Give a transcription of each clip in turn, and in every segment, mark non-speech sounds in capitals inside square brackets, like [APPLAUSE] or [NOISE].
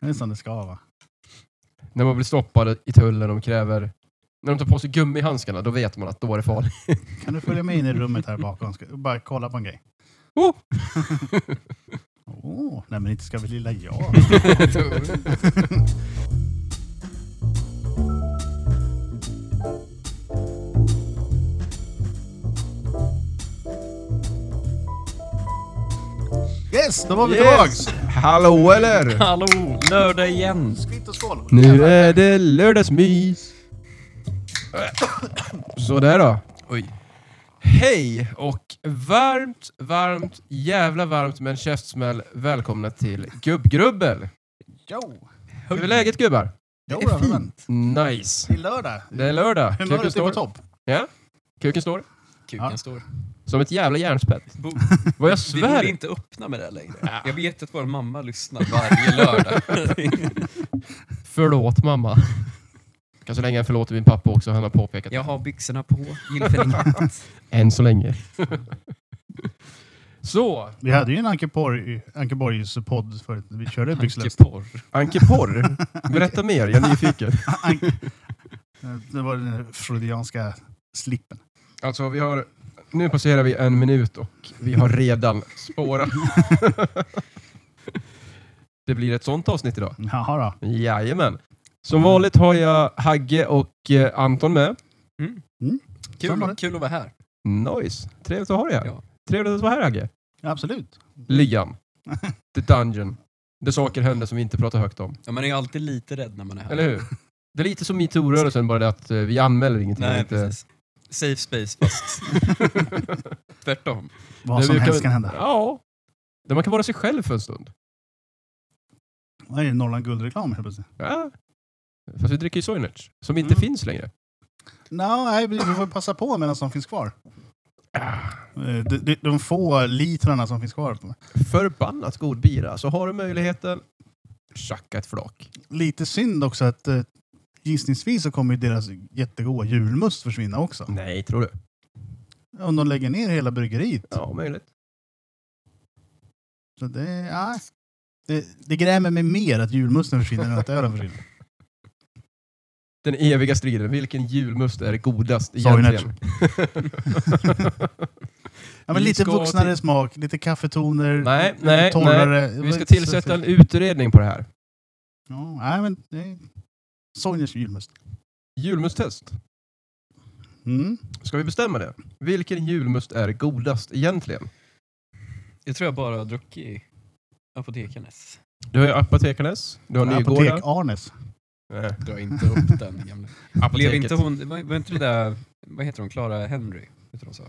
Det är som det ska vara. När man blir stoppad i tullen och de kräver... När de tar på sig gummihandskarna, då vet man att då är det farligt. Kan du följa med in i rummet här bakom? Ska, bara kolla på en grej. Oh! Åh, nej men inte ska väl lilla jag? Yes, då var vi Yes! tillbaks! Hallå eller? [LAUGHS] Hallå, lördag igen. Skvitt och skål! nu är det lördagsmys. Sådär då. Oj. Hej och varmt, varmt, jävla varmt med en käftsmäll välkomna till Gubbgrubbel. Jo! Hur är läget gubbar? Jo, Det är då, men fint. Nice. Det är lördag. Det är lördag. Kuken Humöret är på står. topp. Kuken står. Kuken Ja. står. Som ett jävla järnspett. Bo, Vad jag vi borde svär. inte öppna med det här längre. Jag vet att vår mamma lyssnar varje lördag. [LAUGHS] Förlåt mamma. Kan så länge en förlåt till min pappa också, han har påpekat. Jag har byxorna på, [LAUGHS] gillfällighet. Än så länge. så, Vi hade ju en Ankeborg- Ankeborgs-podd förut. Vi körde byxläst. Porr. Anke Porr. Berätta mer, jag är nyfiken. Eh, Det var den freudianska slippen. Alltså, vi har... Nu passerar vi en minut och vi har redan spårat. [LAUGHS] det blir ett sånt avsnitt idag. Jaha då. Jajamän. Som vanligt har jag Hagge och eh, Anton med. Mm. Samma. Mm. Kul, kul att vara här. Nice. Trevligt att ha dig här. Ja. Trevligt att vara här Hagge. Absolut. [LAUGHS] Liam. The Dungeon. Det saker hände som vi inte pratar högt om. Ja, man är ju alltid lite rädd när man är här. Eller hur? Det är lite som metoo-rörelsen, bara det att eh, vi anmäler ingenting. Nej, inte... precis. Safe space, fast [LAUGHS] tvärtom. Vad Nej, som vi helst kan hända. [LAUGHS] Ja. Där man kan vara sig själv för en stund. Vad är det? Norrland Guld-reklam helt plötsligt. Ja. Fast vi dricker ju Soinerts, som inte Mm. finns längre. No, nej, vi vi får passa på medan de finns kvar. Eh, De, de, de få litrarna som finns kvar. Förbannat god bira, så har du möjligheten, tjacka ett flak. Lite synd också att eh, gissningsvis så kommer ju deras jättegoda julmust försvinna också. Nej, tror du? Om de lägger ner hela bryggeriet. Ja, möjligt. Så det, ja. det, det grämer mig mer att julmusten försvinner än att ölen försvinner. Den eviga striden, vilken julmust är godast Soinerts. egentligen? Ja, men Vi lite ska vuxnare till- smak, lite kaffetoner, Nej, lite nej, torrare. Vi ska tillsätta en utredning på det här. Ja, nej, men det är Sonjas julmust. Julmusttest. Mm. Ska vi bestämma det? Vilken julmust är godast egentligen? Jag tror jag bara har druckit apotekarnes. Du har ju Apotekarnes, du har Nygårda. Apotek-Arnes. Nej. Dra inte upp den gamla. [LAUGHS] Blev Apoteket. inte hon, var, var inte det där, vad heter hon, Clara Henry? Heter hon så?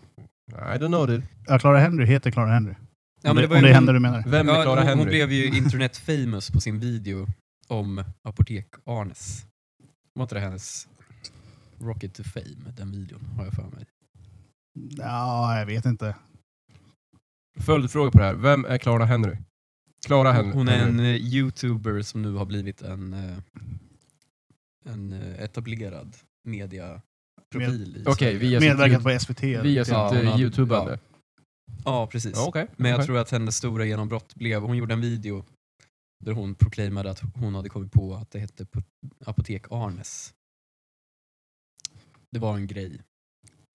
I don't know dude. Ja, Clara Henry heter Clara Henry. Ja, om det, var om ju det hon- händer du menar. Vem är ja, Clara hon, Henry? hon blev ju internet famous på sin video om Apotek Arnes. Var inte det hennes Rocket to Fame, den videon, har jag för mig. Ja, jag vet inte. Följdfråga på det här. Vem är Clara Henry? Clara Henry. Hon är en eh, youtuber som nu har blivit en, eh, en eh, etablerad mediaprofil. i Okej, Sverige. via Medverkat sitt, på SVT. via sitt Ja, eh, hon har- youtubande. Ja, precis. Ja, okej. Men jag okej. tror att hennes stora genombrott blev, hon gjorde en video där hon proklamade att hon hade kommit på att det hette po- Apotek Arnes. Det var en grej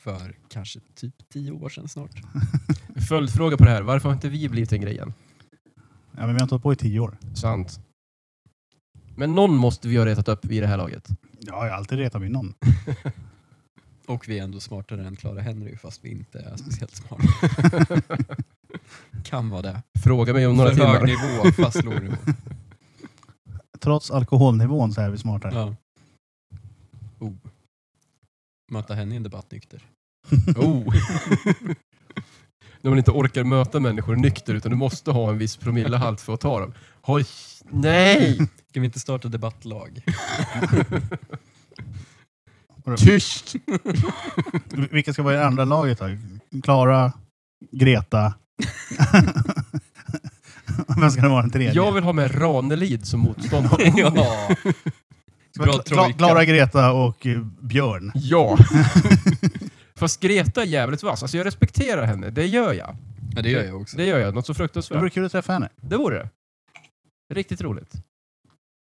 för kanske typ tio år sedan [LAUGHS] snart. Följdfråga på det här. Varför har inte vi blivit en grej än? Ja, men vi har inte hållit på i tio år. Sant. Men någon måste vi ha retat upp i det här [LAUGHS] laget. Ja, jag alltid retar mig någon. Och vi är ändå smartare än Clara Henry fast vi inte är speciellt smarta. Kan vara det. Fråga mig om några för hög timmar. nivå, fast låg nivå. Trots alkoholnivån så är vi smartare. [LAUGHS] Ja. Oh. Möta henne i en debatt nykter. Oh. När man inte orkar möta människor nykter utan du måste ha en viss promillehalt för att ta dem. Oj, nej! Kan vi inte starta debattlag? Tyst! V- Vilka ska vara i det andra laget då? Klara, Greta. [LAUGHS] Vem ska det vara den tredje? Jag vill ha med Ranelid som [LAUGHS] motståndare. ja. Ska det Bra vara Kla- trojka. Klara, Greta och eh, Björn. Ja. Fast Greta är jävligt vass. Alltså jag respekterar henne, det gör jag. Ja, det gör jag också. Det gör jag, något så Det vore fruktansvärt. kul att träffa henne. Det vore det. Riktigt roligt.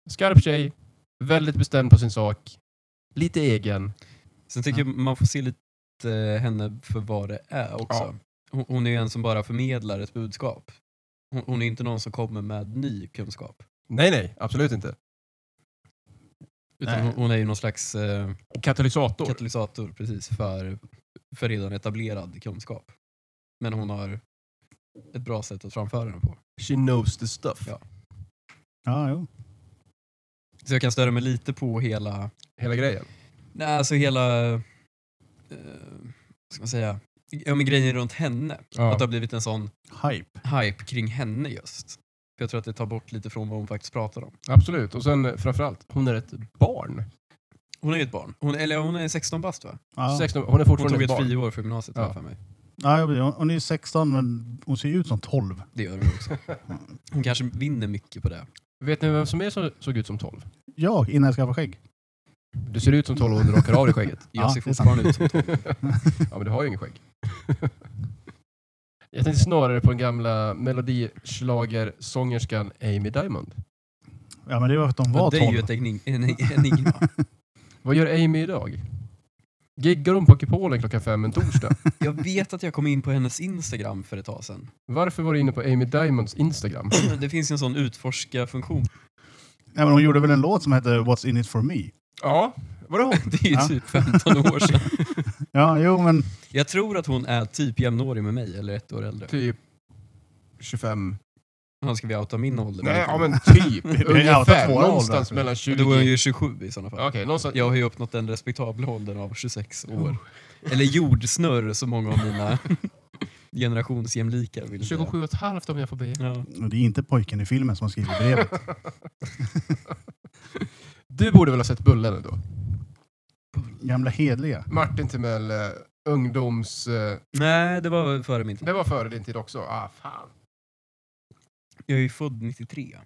Skarp tjej, väldigt bestämd på sin sak, lite egen. Sen tycker jag man får se lite eh, henne för vad det är också. Hon, hon är ju en som bara förmedlar ett budskap. Hon, hon är inte någon som kommer med ny kunskap. Nej, nej, absolut inte. Utan Nej. hon, hon är ju någon slags eh, Katalysator. katalysator precis för, för redan etablerad kunskap. Men hon har ett bra sätt att framföra den på. She knows the stuff. Ja. Ja, jo. Så jag kan störa mig lite på hela Hela grejen. Nej, alltså hela... Eh, vad ska man säga? Ja, men grejen runt henne. Ja. Att det har blivit en sån Hype. hype kring henne just. För jag tror att det tar bort lite från vad hon faktiskt pratar om. Absolut, och sen eh, framförallt, hon är ett barn. Hon är ju ett barn. Hon, eller hon är 16 bast va? Ja. 16, hon är Hon fortfarande tog ett ett barn. friår för gymnasiet Ja. ja. för mig. Ja, jag blir- hon- hon är ju 16, men hon ser ju ut som 12. Det gör hon också. Hon kanske vinner mycket på det. [LAUGHS] Vet ni vem som är så, såg ut som 12? Jag, innan jag skaffade skägg. Du ser ut som 12 och du rakar av dig [LAUGHS] skägget. Jag Ja, ser det är fortfarande ut [LAUGHS] som Ja, men du har ju ingen skägg. Jag tänkte snarare på den gamla melodischlagersångerskan Amy Diamond. [LAUGHS] Ja, men det var för att de var Men Det är 12. ju ett enig- en- enigma. Vad gör Amy idag? Giggar hon på Ockupolen klockan fem en [LAUGHS] torsdag? Jag vet att jag kom in på hennes Instagram för ett tag sedan. [CLEARS THROAT] Varför var du inne på Amy Diamonds Instagram? Det finns ju en sån utforska-funktion. Nej, men hon gjorde väl en låt som hette What's in it for me? Ja, vadå hon? [LAUGHS] Det är ju Ja. typ 15 år [LAUGHS] sedan. Ja, jo, men Jag tror att hon är typ jämnårig med mig, eller ett år äldre. Typ 25. Han ska vi outa min ålder? Nej, ja [LAUGHS] men typ. Ja, det är Ungefär. två år Någonstans där. mellan Då är hon 20... ju 27 i sådana fall. Okej, någonstans... Jag har ju uppnått den respektabla åldern av 26 år. Oh. Eller jordsnurr som många [LAUGHS] av mina generationsjämlikar vill säga. 27 och ett halvt om jag får [LAUGHS] be. Ja. det är inte pojken i filmen som har skrivit brevet. Du borde väl ha sett Bullen ändå? Gamla hedliga. Martin Timell, eh, ungdoms... Eh, Nej, det var före min tid. det var före din tid också. Ah, fan. Jag är ju född 93.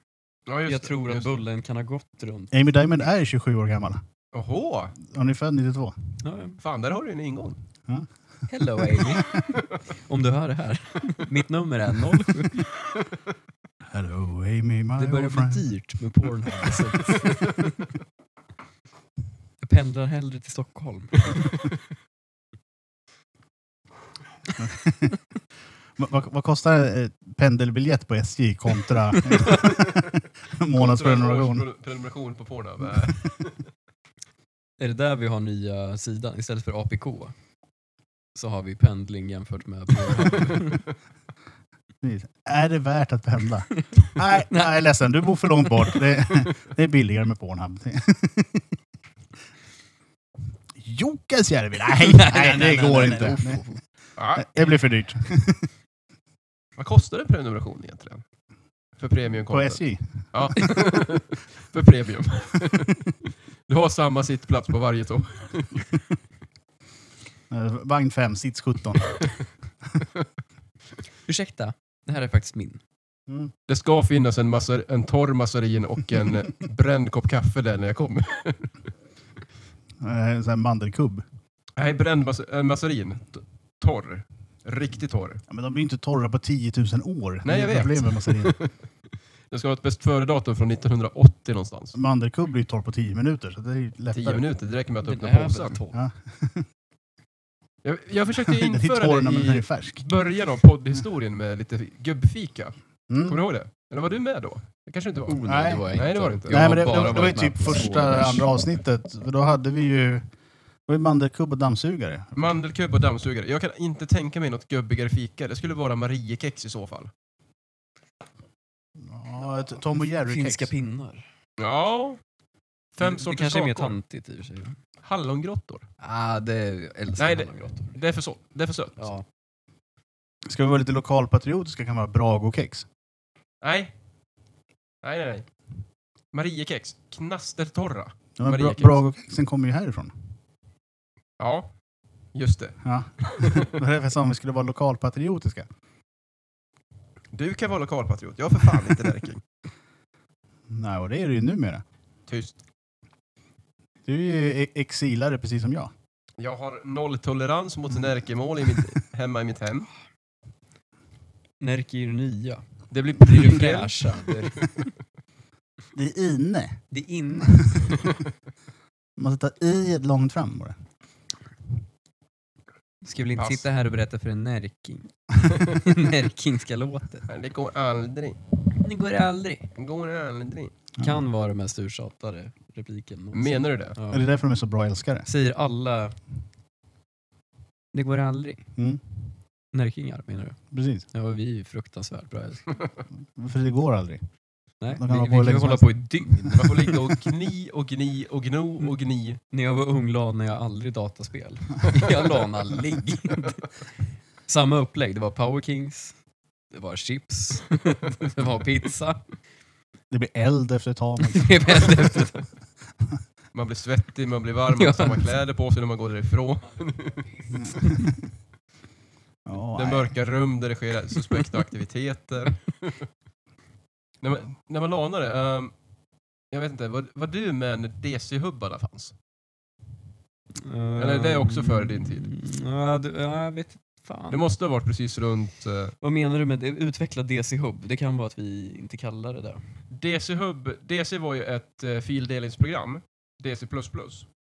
Ja, just Jag det, tror att just det. Bullen kan ha gått runt. Amy Diamond är 27 år gammal. Åhå! Hon är född 92. Ja, ja. Fan, där har du en ingång. Hello [LAUGHS] Amy. Om du hör det här. Mitt nummer är 07. [LAUGHS] Hello Amy, my Det börjar old bli friend. dyrt med Pornhub. så att- Jag pendlar hellre till Stockholm. Va- Vad, vad kostar eh, pendelbiljett på SJ kontra [LAUGHS] månadsprenumeration? Års- Prenumeration på Pornhub. Eh, Är det där vi har nya sidan? Istället för APK så har vi pendling jämfört med Pornhub. Precis. Är det värt att pendla? nej, nej, jag är ledsen. Du bor för långt bort. Det, det är billigare med Pornhub. Jukkasjärvi? Nej, nej, nej, det går inte. nej, nej. ja. Det blir för dyrt. Vad kostar en prenumeration egentligen? För premium På SJ? Ja. [LAUGHS] För premium. Du har samma sittplats på varje tåg. Eh, Vagn 5, sits 17. Ursäkta, det här är faktiskt min. Mm. Det ska finnas en, massör, en torr massarin och en eh, bränd kopp kaffe där när jag kommer. Eh, sån här mandelkubb. Nej, bränd mas- eh, massarin. T- Torr. Riktigt torr. Ja, men de blir inte torra på 10 000 år. Nej, jag Det är vet. problemet med massarin. Det ska vara ett bäst före-datum från 1980 någonstans. Mandelkubb blir ju torr på 10 minuter, så det är ju 10 lättare. minuter, det räcker med att Den öppna är påsen. väl torr. Ja. Jag, jag [LAUGHS] försökte Den är torr införa när den det är i färsk. början av poddhistorien med lite gubbfika. Kommer Mm. du ihåg det? Eller var du med då? Det kanske inte var. Oh, nej, Nej. det var jag Nej, det inte. var det inte. Jag Nej, har men det, bara det, det var ju varit typ med på första, Swedish. andra avsnittet. För Då hade vi ju det var ju mandelkubb och dammsugare. Mandelkubb och dammsugare. Jag kan inte tänka mig något gubbigare fika. Det skulle vara Mariekex i så fall. Ja, ett Tom och Jerry-kex. Finska pinnar. Ja. Fem det, det sorters kanske är mer kakor. tantigt i och för sig. Hallongrottor. Ah, det älskar Nej, Nej, det- hallongrottor. Det är för, så, det är för sött. Ja. Ska vi vara lite lokalpatriotiska kan vara Brago-kex. Nej. Nej, nej, nej. Mariekex. Knastertorra. Ja, men bra, Mariekex. Brago-kexen kommer ju härifrån. Ja. Just det. [LAUGHS] Ja. det var därför jag sa om vi skulle vara lokalpatriotiska. Du kan vara lokalpatriot. Jag är för fan inte lärking. Nej, och det är det ju numera. [LAUGHS] Tyst. Du är ju e- exilare precis som jag. Jag har nolltolerans mot närkemål i mitt, hemma i mitt hem. Närke är ju nya. Det blir Det är ju prylfräsch. fräscha. Det är- Det är inne. Det är inne. Man måste ta i långt fram [LAUGHS] bara. Ska väl inte Pass. sitta här och berätta för en närking. Närkingska låten. Nej, Det går aldrig. Det går aldrig. Det går aldrig. Kan vara den mest uttjatade repliken någonsin. Menar du [LAUGHS] det? Ja. Det är Ja. därför de är så bra älskare. Säger alla... Det går aldrig. Mm, Närkingar menar du? precis. Ja, vi är ju fruktansvärt bra älskare. För det går aldrig. Nej, De kan hålla vi, vi på hur kan ju länge som hålla helst. på i dygn. Man får ligga och gni och gni och gno och [LAUGHS] gni. När jag var ung lanade jag aldrig dataspel. [LAUGHS] Jag lanade aldrig. Samma upplägg. Det var Power Kings, det var chips, det var pizza. Det blir eld efter ett [LAUGHS] tag. Det blev eld efter det. Man blir svettig, man blir varm, man har samma kläder på sig när man går därifrån. Ja, Det nej. mörka rum där det sker suspekta aktiviteter. när, man, när man lanade, ehm, jag vet inte, var, var du med när DC-hubbarna fanns? [LAUGHS] Eller det är också före din tid. Mm, Ja, du, ja, jag vet fan. Det måste ha varit precis runt... eh, Vad menar du med det? Utveckla DC-hub? Det kan vara att vi inte kallar det där. DC-hub, DC var ju ett eh, fildelningsprogram. DC++.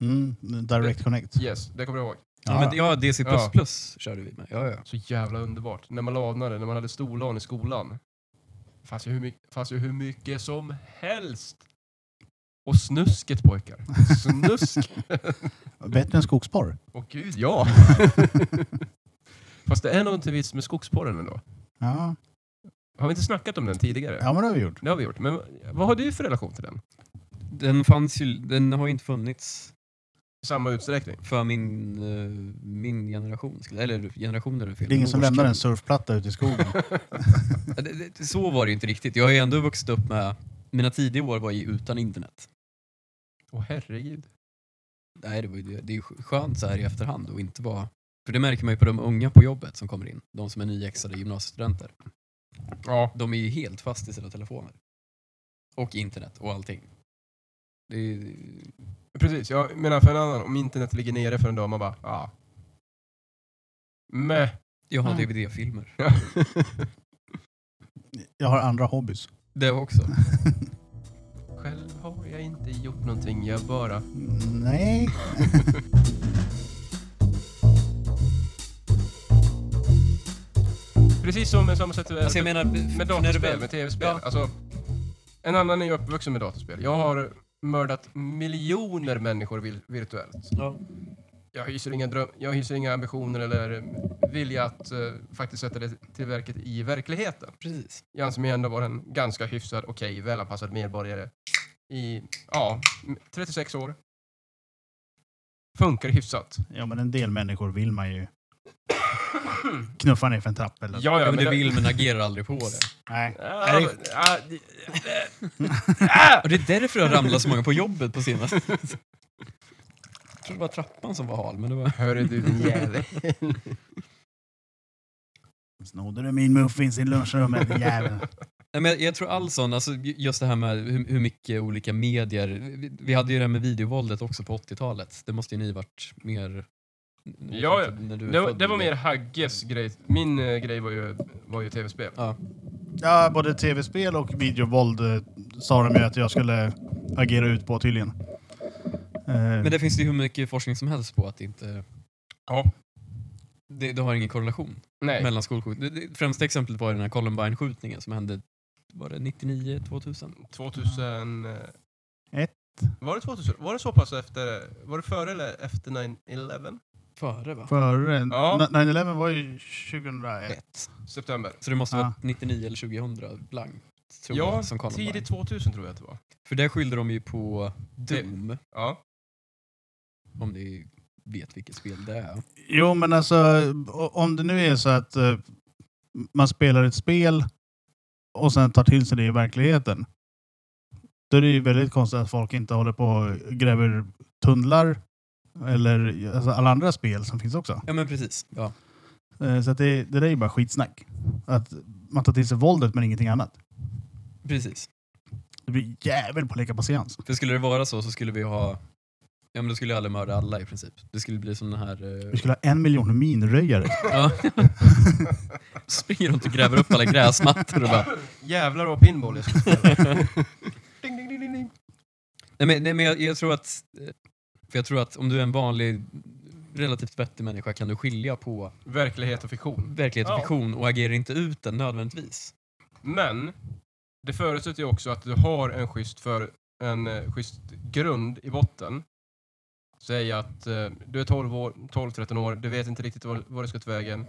Mm, direct connect. Yes, det kommer jag ihåg. Ja, men, ja DC++ Ja. körde vi med. Ja, ja. Så jävla underbart. När man lanade, när man hade storlan i skolan. Fanns ju hur mycket, fanns ju hur mycket som helst. Och snusket pojkar. Snusk. [LAUGHS] Bättre än [LAUGHS] skogsporr. Åh gud, ja! Fast det är någonting visst med skogsporren ändå. Ja. Har vi inte snackat om den tidigare? ja, men det har vi gjort. Det har vi gjort. Men vad har du för relation till den? Den, fanns ju, den har ju inte funnits I samma utsträckning? för min, eh, min generation. skulle- Eller generationer är fel. Det är ingen som Årskull. lämnar en surfplatta ute i [LAUGHS] skogen. Ja, det- det- Så var det ju inte riktigt. Jag har ju ändå vuxit upp med... Mina tidiga år var ju utan internet. Åh herregud. Nej, det, var ju, det är ju skönt så här i efterhand och inte vara... För det märker man ju på de unga på jobbet som kommer in. De som är nyexade gymnasiestudenter. Ja. De är ju helt fast i sina telefoner. Och internet och allting. Det är, Precis, jag menar för en annan, om internet ligger nere för en dag, man bara ah. [LAUGHS] Meh. jag har Mm. dvd-filmer. Jag har andra hobbys. [LAUGHS] Det också. Själv har jag inte gjort någonting, jag bara... Nej. Precis som med samma sätt med, Alltså jag menar, med när du dataspel, väl- med tv-spel. Ja. Alltså, en annan är ju uppvuxen med dataspel. Jag har mördat miljoner människor vil- virtuellt. Ja. jag hyser inga, dröm, jag hyser inga ambitioner eller eh, vilja att eh, faktiskt sätta det till verket i verkligheten. Precis. Jag anser mig ändå vara en ganska hyfsad, okej, välanpassad medborgare i, ja, m- 36 år. Funkar hyfsat. Ja, men en del människor vill man ju knuffa ner för en trapp. Eller? Ja, men du jag- vill men agerar aldrig på det. Nej. Ah, Nej. ah, det- Och det är därför det har ramlat så många på jobbet på senaste. Jag tror det var trappan som var hal, men det var... Hörru du din jävel. Snodde du min muffins i lunchrummet, din jävel? Nej, men jag- jag tror all sån, alltså ju- just det här med hur, hur mycket olika medier, vi, vi hade ju det här med videovåldet också på 80-talet, det måste ju ni varit mer... Ja, ja. När du [LAUGHS] är Det, var- född. det var mer Hagges grej. Min eh, grej var ju, var ju tv-spel. Ja. Ja, både tv-spel och videovåld eh, sa de ju att jag skulle agera ut på tydligen. Eh, Men det finns ju hur mycket forskning som helst på att det inte, Ja. det, det har ingen korrelation Nej. mellan skolskjutningar. Det, det främsta exemplet var ju den här Columbine-skjutningen som hände, var det 99, 2000? 2000... eh, Ett. Var det 2000? Var det så pass efter... Var det före eller efter 9-11? Före va? Före... Ja. Ja. 9-11 var ju 2001. Ett. September. Så det måste Ja. vara 99 eller 2000 blankt, tror Ja, jag, som Columbine. tidigt 2000 tror jag att det var. För där skyllde de ju på Doom. Ja. Om ni vet vilket spel det är. Jo, men alltså o- om det nu är så att eh, man spelar ett spel och sen tar till sig det i verkligheten. Då är det ju väldigt konstigt att folk inte håller på och gräver tunnlar eller alltså, alla andra spel som finns också. Ja men precis. Ja. Eh, Så att det, det där är ju bara skitsnack. Att man tar till sig våldet men ingenting annat. Precis. Det blir jävel på att leka patiens. För skulle det vara så så skulle vi ha... Ja men då skulle alla mörda alla i princip. Det skulle bli som den här... Vi [LAUGHS] eh, skulle ha en miljon minröjare. [LAUGHS] ja. Springer runt och gräver upp alla gräsmattor och bara... [LAUGHS] Jävlar vad pinball jag skulle spela. ding, ding, ding, ding, Nej, men, nej, men jag, jag tror att... eh, För jag tror att om du är en vanlig, relativt vettig människa kan du skilja på Verklighet och fiktion. verklighet och Ja. fiktion och agerar inte ut den nödvändigtvis. Men det förutsätter ju också att du har en schysst, för, en, eh, schysst grund i botten. Säg att eh, du är 12 år, 12-13 år, du vet inte riktigt var, var du ska ta vägen.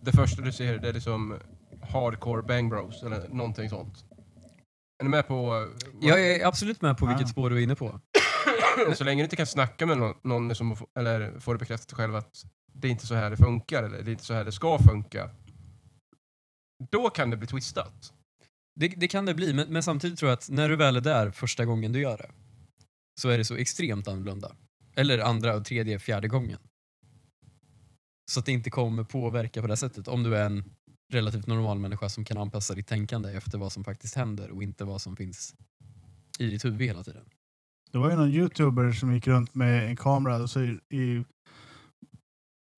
Det första du ser det är liksom hardcore bang bros eller någonting sånt. Är ni med på... eh, vad- Jag är absolut med på vilket Ah. spår du är inne på. Så länge du inte kan snacka med någon, någon som, f- eller får det bekräftat själv att det är inte så här det funkar eller det är inte så här det ska funka. Då kan det bli twistat. Det, det kan det bli, men, men samtidigt tror jag att när du väl är där första gången du gör det så är det så extremt annorlunda. Eller andra, och tredje, fjärde gången. Så att det inte kommer påverka på det här sättet om du är en relativt normal människa som kan anpassa ditt tänkande efter vad som faktiskt händer och inte vad som finns i ditt huvud hela tiden. Det var ju någon youtuber som gick runt med en kamera och så i, i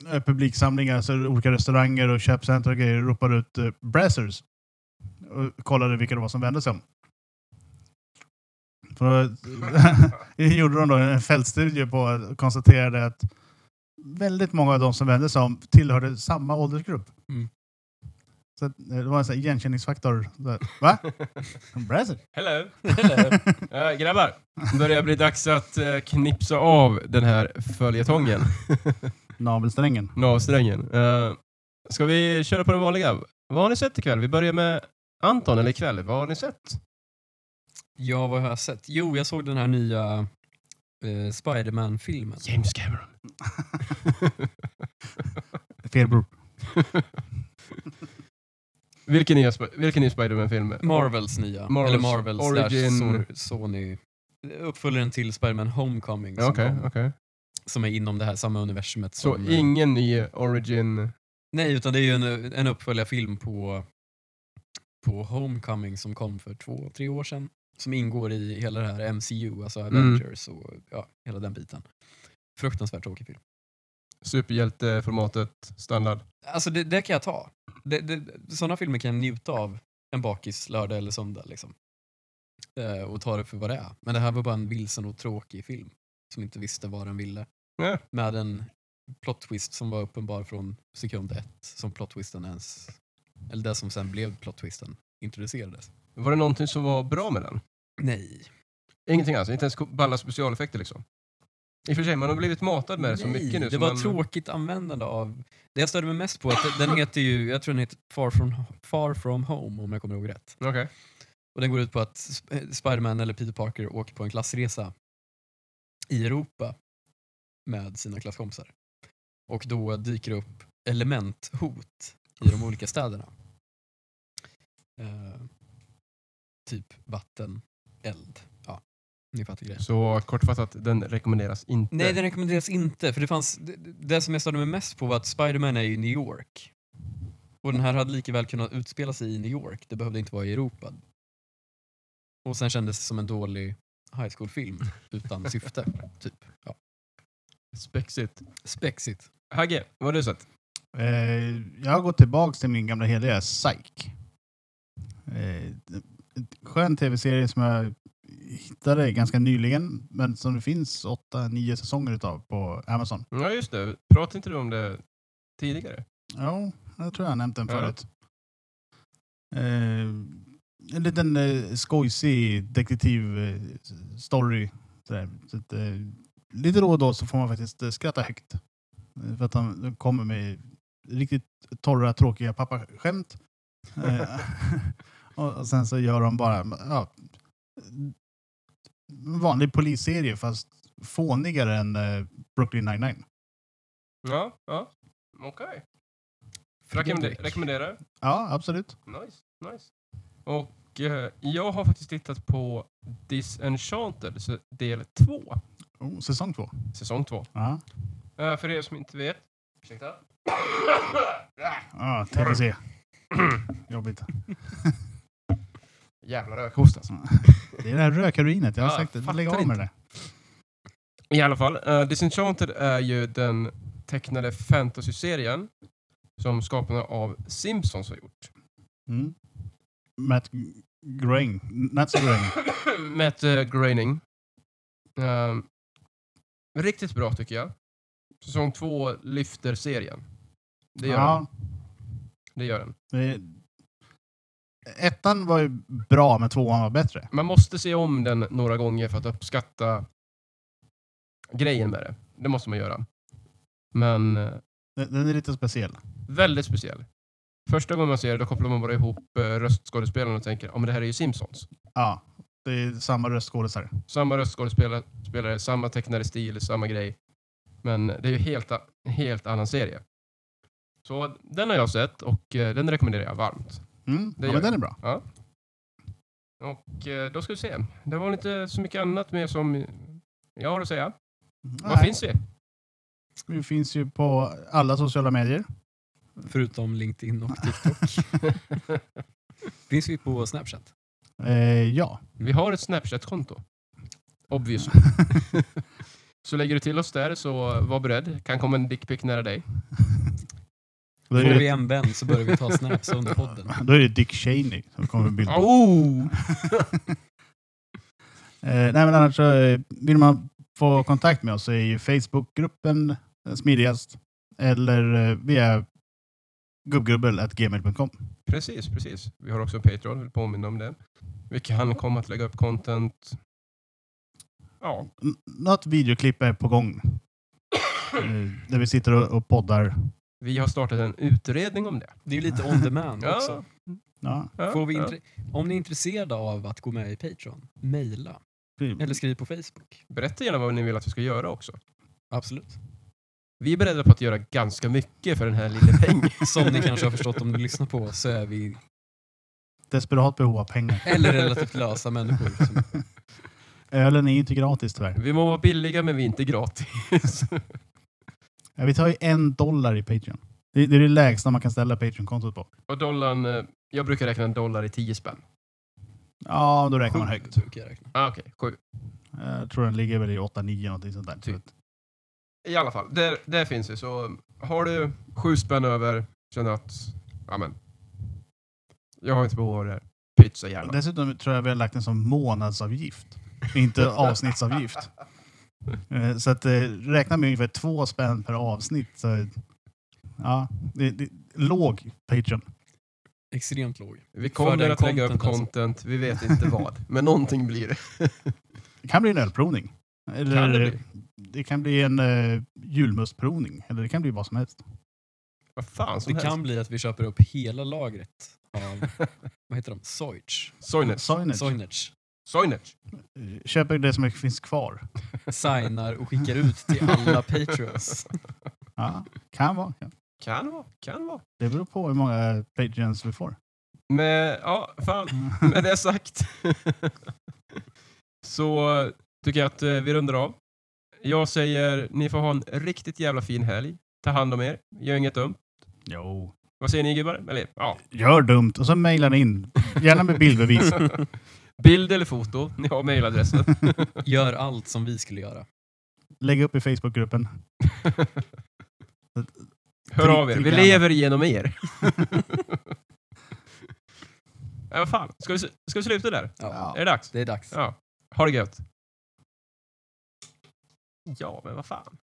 eh, publiksamlingar, så olika restauranger och köpcenter och grejer ropade ut eh, brassers och kollade vilka det var som vände sig om. För, [LAUGHS] det gjorde de då en fältstudie på och konstaterade att väldigt många av de som vände sig om tillhörde samma åldersgrupp. Mm. Så att, eh, det var en sån här igenkänningsfaktor. Så här, Va? Brassers? [LAUGHS] Hello! Eh, grabbar, det börjar bli dags att eh, knipsa av den här följetongen, Navelsträngen. navsträngen. Eh, ska vi köra på den vanliga? Vad har ni sett ikväll? Vi börjar med Anton, eller ikväll, vad har ni sett? Ja, vad har jag sett? Jo, jag såg den här nya eh, Spiderman-filmen. James Cameron. Fel bror. vilken ny, Sp- vilken ny Spiderman-film? Marvels nya. Marvels eller Marvel origin- slash Sor- Sony. Uppföljaren till Spiderman Homecoming som, Okej, kom, okej. som är inom det här samma universumet. Så som, ingen ny origin... Nej, utan det är ju en, en uppföljarfilm på, på Homecoming som kom för två, tre år sedan. Som ingår i hela det här MCU, alltså Mm. Avengers och ja, hela den biten. Fruktansvärt tråkig film. superhjälteformatet standard. Alltså det, det kan jag ta. Det, det, sådana filmer kan jag njuta av en bakis lördag eller söndag. Liksom. Eh, och ta det för vad det är. Men det här var bara en vilsen och tråkig film som inte visste vad den ville. Ja. Med en plot twist som var uppenbar från sekund ett som plot twisten ens, eller det som sen blev plot twisten, introducerades. Var det någonting som var bra med den? Nej. Ingenting alls, inte ens ko- balla specialeffekter liksom. I och för sig, man har blivit matad med det så Nej, mycket nu. Det så var man... tråkigt användande av... Det jag störde mig mest på, är att den heter ju, jag tror den heter Far from, Far from Home om jag kommer ihåg rätt. Okej. Och den går ut på att Sp- eh, Spiderman eller Peter Parker åker på en klassresa i Europa med sina klasskompisar. Och då dyker det upp elementhot i de olika städerna. Eh, typ vatten, eld. Ja, ni fattar grejen. Så kortfattat, den rekommenderas inte. Nej, den rekommenderas inte. För det, fanns, det, det som jag störde mig mest på var att Spider-Man är i New York. Och den här hade lika väl kunnat utspela sig i New York. Det behövde inte vara i Europa. Och sen kändes det som en dålig high school-film utan syfte. typ. Ja. Spexigt. [LAUGHS] Spexigt. Hagge, vad har du sett? Eh, jag har gått tillbaka till min gamla heliga Psych. Eh, en skön tv-serie som jag hittade ganska nyligen, men som det finns åtta, nio säsonger utav på Amazon. Ja, just det. Pratade inte du om det tidigare? Ja, jag tror jag har nämnt den Ja. förut. Eh, en liten eh, skojsig detektivstory. Eh, sådär. så att, eh, lite då och då så får man faktiskt eh, skratta högt. Eh, För att han de kommer med riktigt torra, tråkiga pappaskämt. Eh, [LAUGHS] och, och sen så gör de bara ja, en vanlig polisserie fast fånigare än eh, Brooklyn 99. Ja, ja. Okej. Rekommende- rekommenderar. Ja, absolut. Nice, nice. Och eh, jag har faktiskt tittat på Disenchanted, så del 2, Oh, säsong två. säsong 2. Ja. Eh, för er som inte vet. Ursäkta. [COUGHS] Ja, TBC. Jobbigt. Jävla rökhosta. alltså. Det är det här rökheroinet, jag har Ja, sagt det. fattar Lägg av med det. I alla fall, eh, Disenchanted är ju den tecknade fantasy-serien som skaparna av Simpsons har gjort. [COUGHS] Mm. Matt Groening. Nats Groening. Matt eh, Groening. Ehm, riktigt bra tycker jag. Säsong två lyfter serien. [LAUGHS] Det gör, den. ja, det gör den. det, ettan var ju bra, men tvåan var bättre. Man måste se om den några gånger för att uppskatta grejen med det. Det måste man göra. Men eh, Den, den är lite speciell. väldigt speciell. Första gången man ser det då kopplar man bara ihop eh, röstskådespelarna och tänker om men det här är ju Simpsons. Ja, det är samma röstskådisar. Samma röstskådespelare, spelare, samma tecknade stil, samma grej. Men det är ju helt, a- en helt annan serie. Så den har jag sett och eh, den rekommenderar jag varmt. Mm, Det ja, gör men den är bra. Och eh, då ska vi se. Det var inte så mycket annat mer som jag har att säga. Vad Nej, finns vi? Vi finns ju på alla sociala medier. Förutom LinkedIn och TikTok. [LAUGHS] Finns vi på Snapchat? Eh, ja, [LAUGHS] Vi har ett Snapchat-konto. [LAUGHS] Obvious. så lägger du till oss där så var beredd. Kan komma en dickpic nära dig. då Får är vi det, en vän så börjar vi ta snaps [LAUGHS] under podden. då är det Dick Cheney som kommer med [LAUGHS] bild. Oh! Eh, nej, men annars så, eh, vill man få kontakt med oss så är ju Facebookgruppen eh, smidigast. Eller eh, via gubbgrubbel.gmail.com. Precis, precis. Vi har också en Patreon, vill påminna om det. Vi kan komma att lägga upp content. Ja, N- Något videoklipp är på gång. Eh, där vi sitter och, och poddar. vi har startat en utredning om det. Det är ju lite on demand också. Ja, ja, Får vi ja. intre- om ni är intresserade av att gå med i Patreon, mejla. Eller skriv på Facebook. Berätta gärna vad ni vill att vi ska göra också. Absolut. Vi är beredda på att göra ganska mycket för den här lilla pengen. [LAUGHS] Som ni kanske har förstått om ni lyssnar på oss så är vi, desperat behov av pengar. eller relativt lösa människor. Som, Ölen är ju inte gratis tyvärr. Vi må vara billiga men vi är inte [LAUGHS] gratis. Ja, vi tar ju en dollar i Patreon. Det, det är det lägsta man kan ställa Patreon-kontot på. Och dollarn, eh, jag brukar räkna en dollar i 10 spänn. Ja, då räknar man högt. brukar jag räkna. Ah, Okej, sju. Jag tror den ligger väl i 8-9 någonting sånt där. Typ. I alla fall, där, där finns det. Så um, har du sju spänn över, känner att, ja men, jag har inte behov av det här. Pytsa gärna. Dessutom tror jag vi har lagt en som månadsavgift, [LAUGHS] inte avsnittsavgift. Eh, Så att eh, räkna med ungefär två spänn per avsnitt. Så, eh, ja, det, det, låg Patreon. Extremt låg. Vi För kommer den att lägga upp content alltså. content, vi vet [LAUGHS] inte vad. Men någonting blir det. Det kan bli en ölprovning. Eller eh, Kan det det, bli? kan bli en eh, julmustprovning. Eller det kan bli vad som helst. Vad fan som Det helst. kan bli att vi köper upp hela lagret av, vad heter de? Soich. [LAUGHS] Soinage. Signage. Soinage. Soinage. Eh, Köper det som finns kvar. Signar och skickar ut till alla Patreons. Ja, kan vara. Kan. Kan vara, kan vara. Det beror på hur många Patreons vi får. Men, ja, fan. Med det sagt så eh, tycker jag att eh, vi rundar av. Jag säger, ni får ha en riktigt jävla fin helg. Ta hand om er. Gör inget dumt. Jo. Vad säger ni gubbar? Eller, ja. Gör dumt och så mejlar ni in. Gärna med [LAUGHS] bildbevis. Bild eller foto? Ni har mejladressen. Gör allt som vi skulle göra. Lägg upp i Facebookgruppen. Hör av er. Till Vi grannar. lever genom er. [LAUGHS] Ja, vad fan. Ska vi, s- ska vi sluta där? Ja, Är det dags? det är dags. Ja. Ha det gött. Ja, men vad fan.